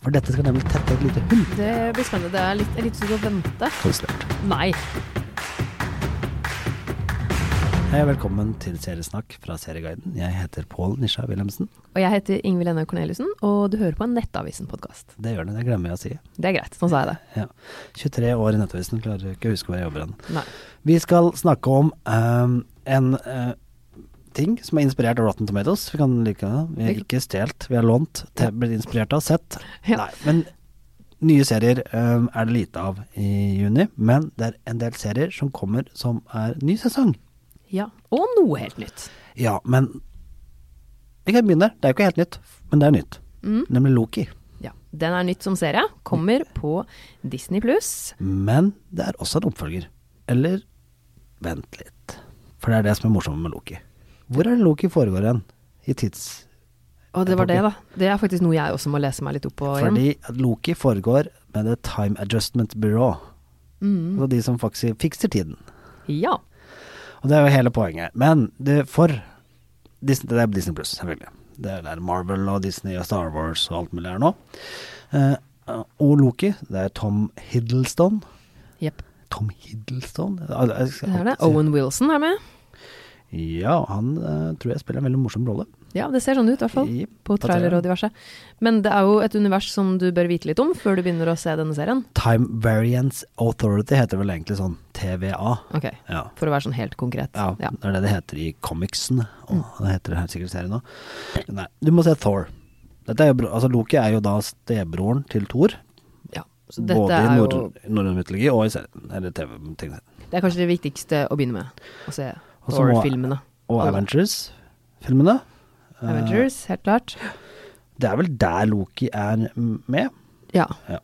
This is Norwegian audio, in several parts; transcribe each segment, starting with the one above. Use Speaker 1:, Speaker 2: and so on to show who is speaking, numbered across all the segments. Speaker 1: For dette skal nemlig tette et lite hull.
Speaker 2: Det blir spennende. Det er litt, jeg er litt usikker på å vente.
Speaker 1: Konsentrert.
Speaker 2: Nei.
Speaker 1: Hei og velkommen til Seriesnakk fra Serieguiden. Jeg heter Pål Nisha Wilhelmsen.
Speaker 2: Og jeg heter Ingvild Enne Corneliussen, og du hører på en Nettavisen-podkast.
Speaker 1: Det gjør det, det glemmer jeg å si.
Speaker 2: Det er greit, sånn sa jeg det.
Speaker 1: Ja. 23 år i Nettavisen, klarer ikke å huske hvor jeg jobber hen.
Speaker 2: Nei.
Speaker 1: Vi skal snakke om ehm, en eh, ting som er inspirert av Rotten Tomatoes. Vi kan like det. Vi har ikke stjålet, vi har lånt, te- blitt inspirert av, sett.
Speaker 2: Ja.
Speaker 1: Nei, men nye serier ehm, er det lite av i juni. Men det er en del serier som kommer som er ny sesong.
Speaker 2: Ja. Og noe helt nytt.
Speaker 1: Ja, men vi kan begynne der. Det er jo ikke helt nytt, men det er nytt.
Speaker 2: Mm.
Speaker 1: Nemlig Loki.
Speaker 2: Ja. Den er nytt som serie. Kommer på Disney pluss.
Speaker 1: Men det er også en oppfølger. Eller vent litt. For det er det som er morsomt med Loki. Hvor er det Loki foregår hen? I tids...
Speaker 2: Og det var det, da. Det er faktisk noe jeg også må lese meg litt opp på igjen.
Speaker 1: Fordi at Loki foregår med The Time Adjustment Bureau. Og de som faktisk fikser tiden.
Speaker 2: Mm. Ja.
Speaker 1: Og det er jo hele poenget. Men det for Disney, Det er Disney Pluss, selvfølgelig. Det er der Marvel og Disney og Star Wars og alt mulig er nå. Eh, og Loki, det er Tom Hiddleston.
Speaker 2: Jepp.
Speaker 1: Tom Hiddleston? Jeg- jeg skal
Speaker 2: Det er det.
Speaker 1: alltid si-
Speaker 2: Owen Wilson er med.
Speaker 1: Ja, han eh, tror jeg spiller en veldig morsom rolle.
Speaker 2: Ja, det ser sånn ut i hvert fall.
Speaker 1: Jepp,
Speaker 2: På
Speaker 1: på
Speaker 2: trailer
Speaker 1: traileren.
Speaker 2: og diverse. Men det er jo et univers som du bør vite litt om før du begynner å se denne serien.
Speaker 1: Time Variance Authority heter vel egentlig sånn TVA.
Speaker 2: Ok,
Speaker 1: Ja.
Speaker 2: For å være sånn helt konkret.
Speaker 1: Ja, det er det det heter i comicsen. Og det heter det her sikkert i serien òg. Nei, du må se Thor. Dette er jo, bro- altså Loki er jo da stebroren til Thor.
Speaker 2: Ja, Så dette
Speaker 1: både
Speaker 2: er
Speaker 1: i
Speaker 2: jo
Speaker 1: nord norrøn mytologi og i serien. Eller TV-tingene.
Speaker 2: Det er kanskje det viktigste å begynne med. Å se
Speaker 1: Og så må-
Speaker 2: Thor-filmene.
Speaker 1: Og
Speaker 2: Alle.
Speaker 1: Avengers-filmene. Eh,
Speaker 2: Avengers, helt klart.
Speaker 1: Det er vel der Loki er med.
Speaker 2: Ja.
Speaker 1: Ja.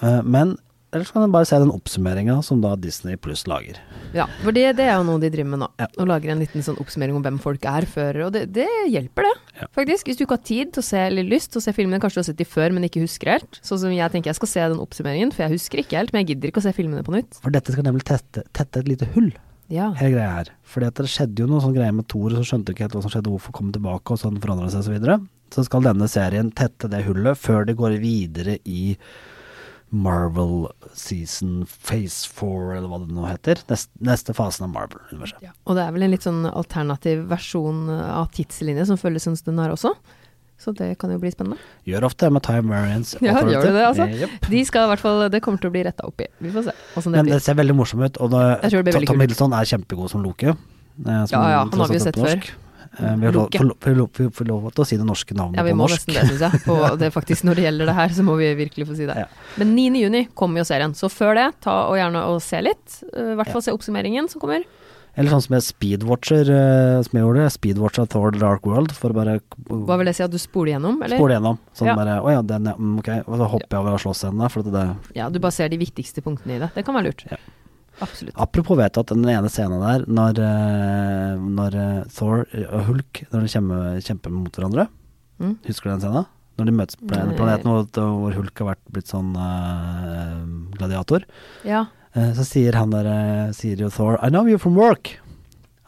Speaker 1: Eh, men ellers kan du bare se den oppsummeringa som da Disney pluss lager.
Speaker 2: ja. For det, det er jo noe de driver med nå.
Speaker 1: Ja.
Speaker 2: Og lager en liten sånn oppsummering om hvem folk er før. Og det, det hjelper, det.
Speaker 1: Ja.
Speaker 2: Faktisk. Hvis du ikke har tid til å se eller lyst til å se filmene, kanskje du har sett de før, men ikke husker helt. Sånn som jeg tenker jeg skal se den oppsummeringen, for jeg husker ikke helt, men jeg gidder ikke å se filmene på nytt.
Speaker 1: For dette skal nemlig tette, tette et lite hull,
Speaker 2: Ja.
Speaker 1: hele greia her. Fordi at det skjedde jo noe sånn greie med Thor, så skjønte du ikke helt hva som skjedde, hvorfor kom han tilbake, og sånn forandra seg, og så videre. Så skal denne serien tette det hullet før det går videre i Marvel season phase four, eller hva det nå heter. Neste, neste fasen av Marvel-universet.
Speaker 2: Ja, og det er vel en litt sånn alternativ versjon av tidslinje som følges som den her også. Så det kan jo bli spennende.
Speaker 1: Gjør ofte det med time variance.
Speaker 2: Ja,
Speaker 1: authority.
Speaker 2: gjør du det, altså?
Speaker 1: Eh, jep.
Speaker 2: De skal i hvert fall, det kommer til å bli retta opp i. Vi får se åssen Sånn det
Speaker 1: Men det
Speaker 2: blir.
Speaker 1: ser veldig morsomt ut, og
Speaker 2: Jeg tror det
Speaker 1: det,
Speaker 2: blir veldig
Speaker 1: Tom
Speaker 2: kult.
Speaker 1: Hiddleston er kjempegod som Loke. eh, som
Speaker 2: Ja, ja, han har
Speaker 1: tross alt
Speaker 2: vi jo
Speaker 1: er
Speaker 2: sett før.
Speaker 1: norsk. Eh, Vi har lov-
Speaker 2: Loke.
Speaker 1: får lov- får lov- får lov til å si det norske navnet
Speaker 2: Ja, vi
Speaker 1: på
Speaker 2: må
Speaker 1: norsk.
Speaker 2: nesten det, syns jeg. På det faktisk når det gjelder det her, så må vi virkelig få si det.
Speaker 1: Ja.
Speaker 2: Men 9. juni kommer jo serien, så før det, ta og gjerne og se litt. Eh, I hvert fall se oppsummeringen som kommer.
Speaker 1: Eller sånn som jeg speedwatcher, eh, som jeg gjorde. Speedwatcha Thor The Dark World, for å bare
Speaker 2: Hva
Speaker 1: spole
Speaker 2: vil det si at du spoler gjennom, eller?
Speaker 1: gjennom. Sånn
Speaker 2: Ja.
Speaker 1: bare Å ja, den, ja, mm, ok. Og så hopper jeg over av slåssscenene. For at det,
Speaker 2: Ja, du bare ser de viktigste punktene i det. Det kan være lurt.
Speaker 1: Ja.
Speaker 2: Absolutt.
Speaker 1: apropos, vet du at den ene scenen der, når, eh, når eh, Thor og Hulk Når de kjemper, kjemper mot hverandre,
Speaker 2: Mm.
Speaker 1: husker du den scenen? Når de møtes på den
Speaker 2: Nei.
Speaker 1: planeten hvor- hvor Hulk har vært blitt sånn eh, gladiator.
Speaker 2: Ja.
Speaker 1: Eh, Så sier han der, eh, sier jo Thor, I know you from work.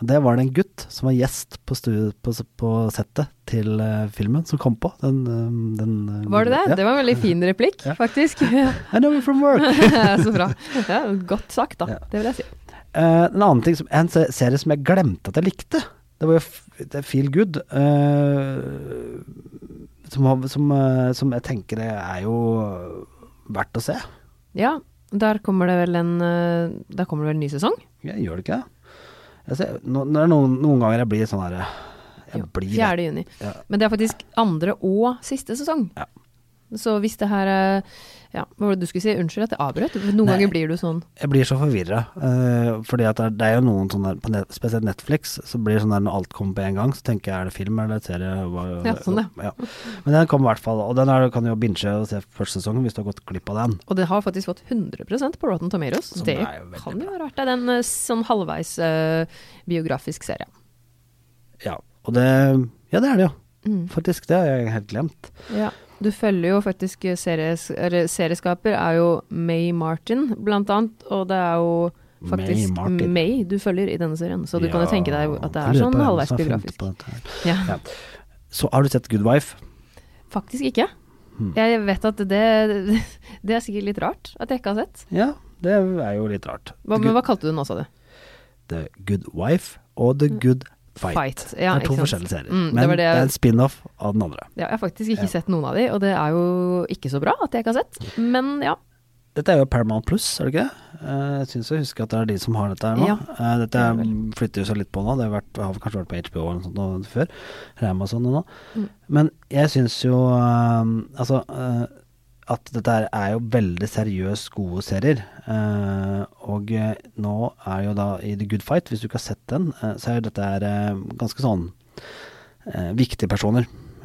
Speaker 1: Og det var det en gutt som var gjest på, stu- på, s- på settet til eh, filmen, som kom på den. eh, den eh,
Speaker 2: Var det det?
Speaker 1: Ja.
Speaker 2: Det var en veldig fin replikk,
Speaker 1: Ja.
Speaker 2: faktisk. Ja.
Speaker 1: I know you from work.
Speaker 2: så bra. Ja, godt sagt, da.
Speaker 1: Ja.
Speaker 2: Det vil jeg si.
Speaker 1: Eh, en annen ting som, en se- serie som jeg glemte at jeg likte, det var jo f- det er Feel Good. eh, som, har- som, eh, som jeg tenker det er jo verdt å se.
Speaker 2: Ja, der kommer det vel en eh, Der kommer det vel en ny sesong?
Speaker 1: Jeg gjør det ikke det? Jeg ser, no, det er noen, noen ganger jeg blir sånn herre Jeg
Speaker 2: Jo,
Speaker 1: blir det.
Speaker 2: 4. juni.
Speaker 1: Ja.
Speaker 2: Men det er faktisk andre og siste sesong.
Speaker 1: Ja.
Speaker 2: Så hvis det her eh, Ja, hva var det du skulle si? Unnskyld at jeg avbrøt. men Noen
Speaker 1: Nei.
Speaker 2: ganger blir du sånn
Speaker 1: Jeg blir så forvirra. Uh, fordi at det er- det er jo noen sånne på net, Spesielt Netflix, så blir det sånn der når alt kommer på en gang, så tenker jeg er det film eller serie? Hva,
Speaker 2: Ja, sånn,
Speaker 1: ja. Men den kommer i hvert fall, og den er, kan du jo binche og se første sesongen hvis du har gått glipp av den.
Speaker 2: Og det har faktisk fått 100 på Rotten Tomatoes.
Speaker 1: Som
Speaker 2: det
Speaker 1: er jo veldig
Speaker 2: kan jo
Speaker 1: bra.
Speaker 2: være verdt det. Det er en eh, sånn halvveis eh, biografisk serie.
Speaker 1: Ja, og det Ja, det er det jo. Faktisk, det har jeg helt glemt.
Speaker 2: Ja. Du følger jo faktisk eh, series, eller serieskaper, er jo May Martin, blant annet. Og det er jo faktisk
Speaker 1: May
Speaker 2: May,
Speaker 1: Martin.
Speaker 2: du følger i denne serien. Så du
Speaker 1: Ja,
Speaker 2: kan jo tenke deg at det
Speaker 1: jeg lurer
Speaker 2: er
Speaker 1: på
Speaker 2: sånn
Speaker 1: hvem
Speaker 2: halvveis
Speaker 1: som har funnet
Speaker 2: biografisk.
Speaker 1: på dette her.
Speaker 2: Ja.
Speaker 1: Ja. Så har du sett Good Wife?
Speaker 2: Faktisk ikke.
Speaker 1: Hmm.
Speaker 2: Jeg vet at det, det er sikkert litt rart at jeg ikke har sett.
Speaker 1: Ja, det er jo litt rart.
Speaker 2: Hva, men hva kalte du den nå, sa du?
Speaker 1: The Good Wife og The Good Fight.
Speaker 2: Ja,
Speaker 1: det er to
Speaker 2: ikke sant?
Speaker 1: forskjellige serier.
Speaker 2: Mm, det
Speaker 1: men
Speaker 2: var
Speaker 1: det,
Speaker 2: det jeg-
Speaker 1: er en spin-off av den andre.
Speaker 2: Ja, jeg har faktisk ikke
Speaker 1: Ja.
Speaker 2: sett noen av de, og det er jo ikke så bra at jeg ikke har sett. Men ja.
Speaker 1: Dette er jo Paramount Plus, er det ikke? det? Eh, Jeg syns jeg husker at det er de som har dette her nå.
Speaker 2: Ja.
Speaker 1: Eh, Dette
Speaker 2: Det er
Speaker 1: er, flytter jo seg litt på nå, det har, vært, har kanskje vært på HBO eller noe sånt nå før. Eller Amazon nå.
Speaker 2: Mm.
Speaker 1: Men jeg syns jo eh, altså eh, at dette her er jo veldig seriøst gode serier. Eh, og eh, nå er jo da i The Good Fight, hvis du ikke har sett den, eh, så er jo dette her eh, ganske sånn eh, viktige personer.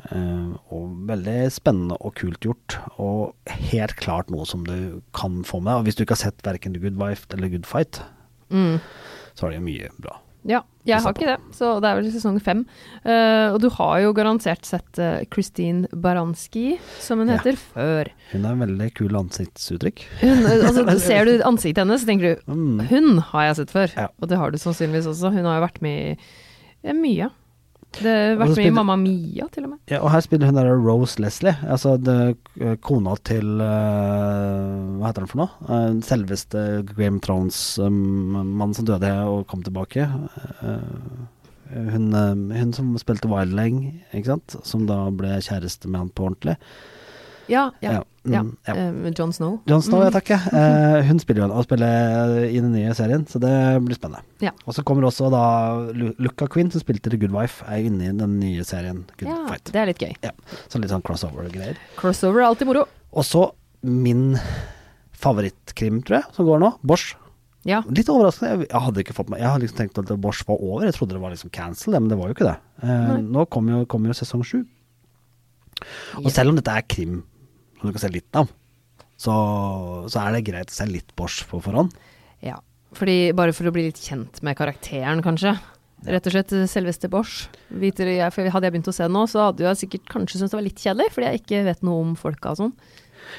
Speaker 1: Eh, og veldig spennende og kult gjort, og helt klart noe som du kan få med. Og hvis du ikke har sett verken The Good Wife eller Good Fight,
Speaker 2: Mm.
Speaker 1: så er det jo mye bra.
Speaker 2: Ja, jeg har ikke det, så det er vel sesong fem. Eh, og du har jo garantert sett eh, Christine Baranski, som hun
Speaker 1: Ja.
Speaker 2: heter, før.
Speaker 1: Hun har veldig kul ansiktsuttrykk.
Speaker 2: Hun, altså, ser du ansiktet hennes, så tenker du
Speaker 1: Mm.
Speaker 2: Hun har jeg sett før,
Speaker 1: Ja.
Speaker 2: og det har du sannsynligvis også. Hun har jo vært med i eh, mye. Det har
Speaker 1: Og så
Speaker 2: vært med
Speaker 1: spilte-
Speaker 2: i Mamma Mia, til og med.
Speaker 1: Ja, og her spiller hun der Rose Leslie, altså det, kona til eh, Hva heter han for noe? Eh, selveste Game Thrones-mannen som døde og kom tilbake. Eh, hun, eh, hun som spilte Wildling, ikke sant? Som da ble kjæreste med han på ordentlig.
Speaker 2: Ja, ja. ja.
Speaker 1: mm, ja.
Speaker 2: Eh, med Jon Snow.
Speaker 1: John Snow,
Speaker 2: Mhm.
Speaker 1: ja takk. ja. Eh, hun spiller jo og spiller i den nye serien, så det blir spennende.
Speaker 2: Ja.
Speaker 1: Og så kommer også da Lu- Luca Quinn, som spilte The Good Wife, er jo inne i den nye serien Good
Speaker 2: Mm. Ja,
Speaker 1: Fight.
Speaker 2: det er litt gøy.
Speaker 1: Ja, så litt sånn crossover-greier.
Speaker 2: Crossover er alltid moro.
Speaker 1: Og så min favorittkrim, tror jeg, som går nå, Bosch.
Speaker 2: Ja.
Speaker 1: Litt overraskende. Jeg- Jeg hadde ikke fått meg Jeg hadde liksom tenkt at Bosch var over. Jeg trodde det var liksom cancel, men det var jo ikke det. Eh,
Speaker 2: Nei.
Speaker 1: nå kommer jo, kommer jo sesong sju. Og
Speaker 2: Ja.
Speaker 1: selv om dette er krim, som du kan se litt av, så, så er det greit å se litt Bosch på forhånd.
Speaker 2: ja. Fordi, bare for å bli litt kjent med karakteren, kanskje. Rett og slett eh, selveste Bosch. Vet dere, jeg- for Hadde jeg begynt å se den nå, så hadde jeg sikkert kanskje syntes det var litt kjedelig, fordi jeg ikke vet noe om folka og sånn.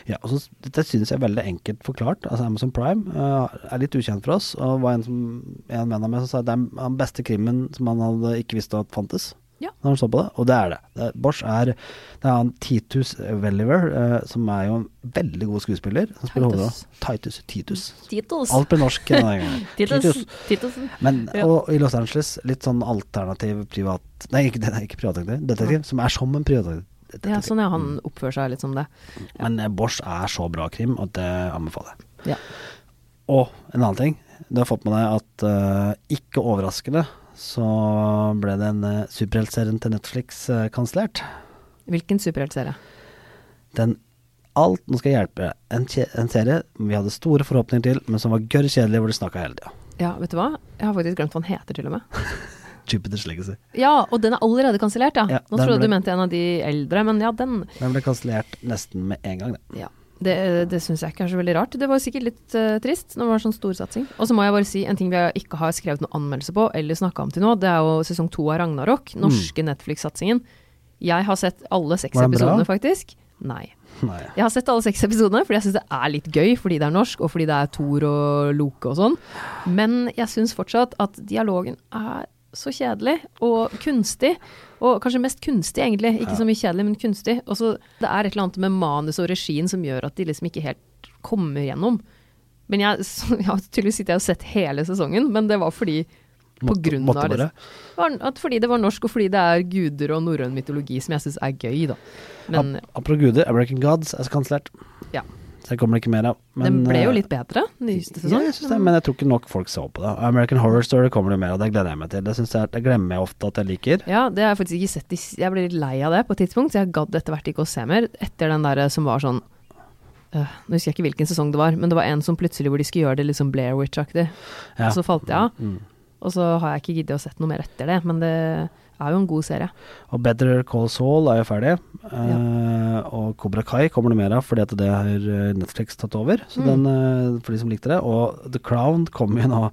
Speaker 1: Ja, og så, Dette synes jeg er veldig enkelt forklart. Altså Amazon Prime eh, er litt ukjent for oss. Og var en, som, en venn av meg som sa at det er den beste krimmen som han hadde ikke visst at fantes.
Speaker 2: Ja.
Speaker 1: Når han så på det, Og det er det. det Bosch er Det er han Titus Welliver, eh, som er jo en veldig god skuespiller. Som spiller
Speaker 2: Titus.
Speaker 1: hovedrollen. Titus. Titus.
Speaker 2: Titus.
Speaker 1: Alt blir norsk denne gangen.
Speaker 2: Titus. Titus.
Speaker 1: Men,
Speaker 2: Ja.
Speaker 1: og i Los Angeles, litt sånn alternativ privat... Nei, ikke, det er ikke privatdetektiv, detektiv, som er som en privatdetektiv.
Speaker 2: Ja, sånn ja, han oppfører seg litt som det.
Speaker 1: Men eh, Bosch er så bra krim at det anbefaler jeg.
Speaker 2: Ja.
Speaker 1: Og en annen ting. Du har fått med deg at eh, ikke overraskende så ble den uh, superheltserien til Netflix uh, kansellert.
Speaker 2: Hvilken superheltserie?
Speaker 1: Den alt Nå skal jeg hjelpe deg. En, kje- en serie vi hadde store forhåpninger til, men som var gørr kjedelig, hvor de snakka hele tida.
Speaker 2: Ja, vet du hva? Jeg har faktisk glemt hva han heter, til og med.
Speaker 1: Jupiters Legacy.
Speaker 2: Ja, og den er allerede kansellert, ja.
Speaker 1: Ja,
Speaker 2: Nå
Speaker 1: den
Speaker 2: trodde jeg
Speaker 1: ble-
Speaker 2: du mente en av de eldre, men ja, den.
Speaker 1: Den ble kansellert nesten med en gang, det.
Speaker 2: Ja. Det, det syns jeg ikke er så veldig rart. Det var sikkert litt eh, trist når det var sånn storsatsing. Og så må jeg bare si en ting vi ikke har skrevet noen anmeldelse på eller snakka om til nå. Det er jo sesong to av Ragnarok,
Speaker 1: Mm.
Speaker 2: norske Netflix-satsingen. Jeg har sett alle seks
Speaker 1: Var den bra?
Speaker 2: episodene, faktisk. Nei.
Speaker 1: Nei.
Speaker 2: Jeg har sett alle seks episodene fordi jeg syns det er litt gøy fordi det er norsk, og fordi det er Thor og Loke og sånn. Men jeg syns fortsatt at dialogen er så kjedelig og kunstig. Og kanskje mest kunstig, egentlig. Ikke så mye kjedelig, men kunstig. Og så Det er et eller annet med manus og regien som gjør at de liksom ikke helt kommer gjennom. Men jeg, så, ja, tydeligvis sitter jeg og sett hele sesongen, men det var fordi på
Speaker 1: Måtte-
Speaker 2: grunn
Speaker 1: måtte
Speaker 2: av det,
Speaker 1: bare.
Speaker 2: var, at fordi det var norsk, og fordi det er guder og norrøn mytologi som jeg syns er gøy, da. Men
Speaker 1: Ap- Apropos guder, American Gods er kansellert.
Speaker 2: Ja.
Speaker 1: Så det kommer det ikke mer av.
Speaker 2: den ble jo
Speaker 1: eh,
Speaker 2: litt bedre, nyeste
Speaker 1: Ja,
Speaker 2: sesong.
Speaker 1: jeg synes det, men jeg tror ikke nok folk så på det. American Horror Story kommer det mer av, det gleder jeg meg til. Det, synes jeg, det glemmer jeg ofte at jeg liker.
Speaker 2: Ja, det har jeg faktisk ikke sett. i s- Jeg ble litt lei av det på et tidspunkt, så jeg gadd etter hvert ikke å se mer. Etter den derre som var sånn øh, Nå husker jeg ikke hvilken sesong det var, men det var en som plutselig hvor de skulle gjøre det liksom Blair Witch-aktig.
Speaker 1: Ja.
Speaker 2: Og så falt jeg av.
Speaker 1: Mm.
Speaker 2: Og så har jeg ikke giddet å sett noe mer etter det, men det er jo en god serie.
Speaker 1: Og Better Call Saul er jo ferdig, eh, og Cobra Kai kommer det mer av fordi at det har eh, Netflix tatt over, så
Speaker 2: Mm.
Speaker 1: den, eh, for de som likte det. Og The Crown kommer jo nå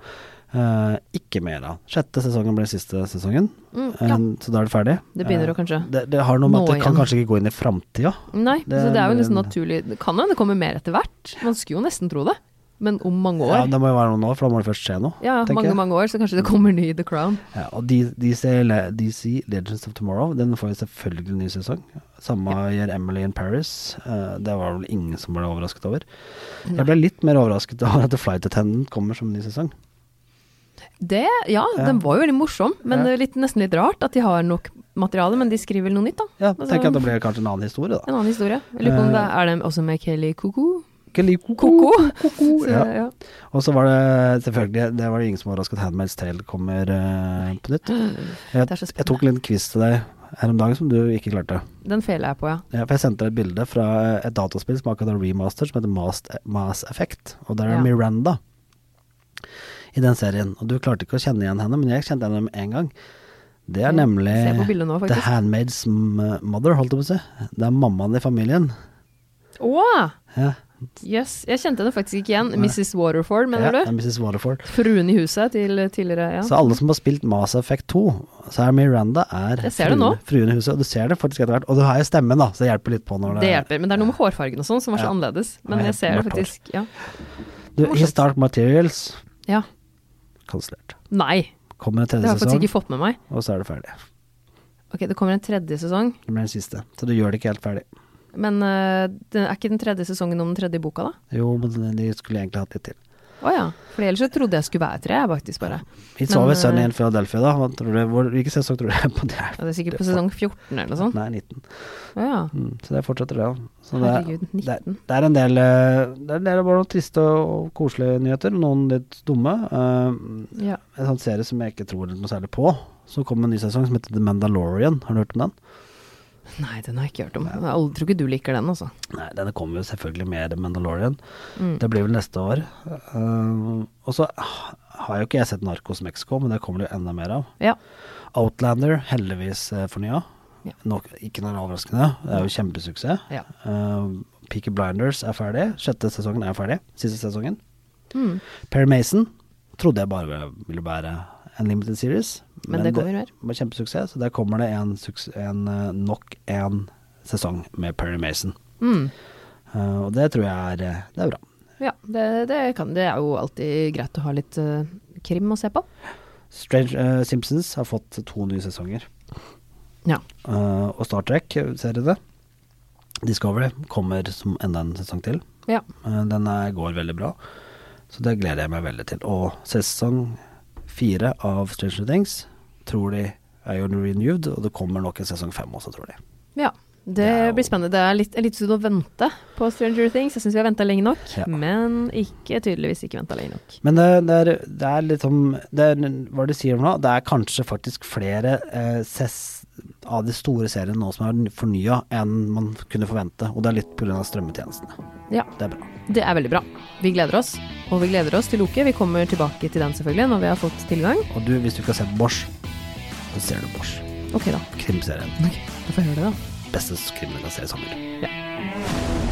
Speaker 1: eh, ikke mer av. Sjette sesongen ble siste sesongen,
Speaker 2: Mm,
Speaker 1: eh,
Speaker 2: ja,
Speaker 1: så da er det ferdig.
Speaker 2: det begynner
Speaker 1: Eh,
Speaker 2: å kanskje
Speaker 1: det, det har noe med
Speaker 2: Nå
Speaker 1: at det kan
Speaker 2: igjen.
Speaker 1: kanskje ikke gå inn i framtida.
Speaker 2: Nei,
Speaker 1: det
Speaker 2: så det er jo
Speaker 1: er-
Speaker 2: liksom naturlig Det kan hende det kommer mer etter hvert. Man skulle jo nesten tro det. men om mange
Speaker 1: Ja,
Speaker 2: år.
Speaker 1: det må jo være noe nå, for da må det først skje noe.
Speaker 2: Ja,
Speaker 1: tenker
Speaker 2: mange,
Speaker 1: jeg.
Speaker 2: mange år, så kanskje det kommer ny The Crown.
Speaker 1: Ja, og D- DC, Le- DC Legends of Tomorrow, den får jo selvfølgelig en ny sesong. Samme gjør Emily in Paris. Eh, det var vel ingen som ble overrasket over. Jeg ble litt mer overrasket over at The Flight Attendant kommer som ny sesong.
Speaker 2: Det, ja,
Speaker 1: Ja.
Speaker 2: den var jo veldig morsom, men
Speaker 1: Ja.
Speaker 2: det er litt, nesten litt rart at de har nok materiale, men de skriver vel noe nytt, da.
Speaker 1: Ja,
Speaker 2: Altså-
Speaker 1: tenker jeg at det blir kanskje en annen historie, da.
Speaker 2: En annen historie. Jeg lurer på om
Speaker 1: Eh.
Speaker 2: det er dem også med Kelly Koko.
Speaker 1: Ikke like koko.
Speaker 2: Koko!
Speaker 1: Koko,
Speaker 2: Så, ja.
Speaker 1: Og så var det selvfølgelig Det var det ingen som var overrasket. Handmaid's Tale kommer eh, på nytt. Jeg,
Speaker 2: Det er så
Speaker 1: jeg tok en liten quiz til deg her om dagen som du ikke klarte.
Speaker 2: Den fela jeg på, ja.
Speaker 1: Ja, for jeg sendte deg et bilde fra et dataspill som akkurat har remaster, som heter Mas, Mass Effect. Og der er
Speaker 2: Ja.
Speaker 1: Miranda i den serien. Og du klarte ikke å kjenne igjen henne, men jeg kjente henne med en gang. Det er
Speaker 2: Ja,
Speaker 1: nemlig
Speaker 2: ser på bildet nå,
Speaker 1: The
Speaker 2: faktisk.
Speaker 1: Handmaid's M- Mother, holdt jeg på å si. Det er mammaen i familien.
Speaker 2: Å!
Speaker 1: Ja,
Speaker 2: Yes, jeg kjente henne faktisk ikke igjen. Mrs. Waterford,
Speaker 1: ja,
Speaker 2: mener
Speaker 1: det er
Speaker 2: du?
Speaker 1: Mrs. Waterford.
Speaker 2: Fruen i huset til tidligere, ja.
Speaker 1: Så alle som har spilt Mass Effect 2, så er Miranda er
Speaker 2: Jeg ser det nå.
Speaker 1: fruen i huset. Og du ser det faktisk etter hvert. Og du har jo stemmen, da, så det hjelper litt på når
Speaker 2: Det hjelper, men det er noe med hårfargen og sånn som var så
Speaker 1: Ja.
Speaker 2: annerledes. Men
Speaker 1: Nei,
Speaker 2: jeg ser det
Speaker 1: mørkt hår.
Speaker 2: faktisk. Ja.
Speaker 1: Du, His Dark Materials,
Speaker 2: ja.
Speaker 1: kansellert.
Speaker 2: Nei,
Speaker 1: Kommer en
Speaker 2: det har
Speaker 1: tredje
Speaker 2: jeg faktisk
Speaker 1: sesong,
Speaker 2: ikke fått med meg.
Speaker 1: og så er det ferdig.
Speaker 2: Ok, det kommer en tredje sesong,
Speaker 1: Det blir den siste. Så du gjør det ikke helt ferdig.
Speaker 2: men øh, det er ikke den tredje sesongen om den tredje boka, da?
Speaker 1: Jo, men de skulle egentlig hatt litt til.
Speaker 2: Å ja. For ellers så trodde jeg skulle være tre, jeg faktisk bare.
Speaker 1: Vi så
Speaker 2: Men,
Speaker 1: ved sønnen
Speaker 2: eh,
Speaker 1: i Philadelphia, da. Hva tror du, hvor, hvilken sesong tror du det er på det?
Speaker 2: Ja, det er sånn? sikkert på sesong 14 eller noe sånt.
Speaker 1: Nei, 19.
Speaker 2: Å ja.
Speaker 1: Mm, så det fortsetter, det. da. Så det, er-
Speaker 2: Herregud,
Speaker 1: det, er-
Speaker 2: 19.
Speaker 1: det er en del eh, Det er en del bare noen triste og koselige nyheter, noen litt dumme. Eh,
Speaker 2: Ja.
Speaker 1: en sånn serie som jeg ikke tror noe særlig på. Så kom en ny sesong som heter The Mandalorian. Har du hørt om den?
Speaker 2: Nei, den har jeg ikke hørt om. Jeg aldri- tror ikke du liker den, altså.
Speaker 1: Nei, denne kommer jo selvfølgelig med The Mandalorian.
Speaker 2: Mm.
Speaker 1: Det blir vel neste år. Eh, og så har jo ikke jeg sett Narcos Mexico, men det kommer det jo enda mer av.
Speaker 2: Ja.
Speaker 1: Outlander heldigvis eh, fornya.
Speaker 2: Ja.
Speaker 1: Nok, ikke noe overraskende. Det er jo kjempesuksess.
Speaker 2: ja.
Speaker 1: Uh, Peaky Blinders er ferdig. Sjette sesongen er ferdig. Siste sesongen.
Speaker 2: Mm.
Speaker 1: Perry Mason trodde jeg bare ville være en limited series.
Speaker 2: Men det kommer mer.
Speaker 1: var kjempesuksess, så der kommer det en, suks- en, eh, nok en sesong med Perry Mason.
Speaker 2: Mm.
Speaker 1: Uh, og det tror jeg er, eh, det er bra.
Speaker 2: Ja, det, det, kan, det er jo alltid greit å ha litt øh, krim å se på.
Speaker 1: Strange eh, Simpsons har fått to nye sesonger.
Speaker 2: Ja.
Speaker 1: Eh, og Star Trek-seriene, Discovery, kommer som enda en sesong til.
Speaker 2: Ja.
Speaker 1: Eh, Den er, går veldig bra, så det gleder jeg meg veldig til. Og sesong fire av Stranger Things tror de er jo renewed, og det kommer nok en sesong fem også, tror de.
Speaker 2: Ja, det,
Speaker 1: er jo-
Speaker 2: blir spennende. Det er litt, en liten stund å vente på Stranger Things. Jeg syns vi har venta lenge nok,
Speaker 1: Ja.
Speaker 2: men ikke tydeligvis ikke venta lenge nok.
Speaker 1: Men det, det, er, det er litt som det er, Hva er det du sier nå? Det er kanskje faktisk flere eh, ses, av de store seriene nå som er fornya, enn man kunne forvente. Og det er litt pga. strømmetjenestene.
Speaker 2: Ja,
Speaker 1: Det er bra.
Speaker 2: det er veldig bra. Vi gleder oss, og vi gleder oss til Loke. Vi kommer tilbake til den selvfølgelig når vi har fått tilgang.
Speaker 1: Og du, hvis du ikke har sett Bosch, så ser du Bosch.
Speaker 2: Ok, da.
Speaker 1: Krimserien.
Speaker 2: Ok, Da får jeg høre det, da.
Speaker 1: Beste krimserien i sommer.
Speaker 2: Ja.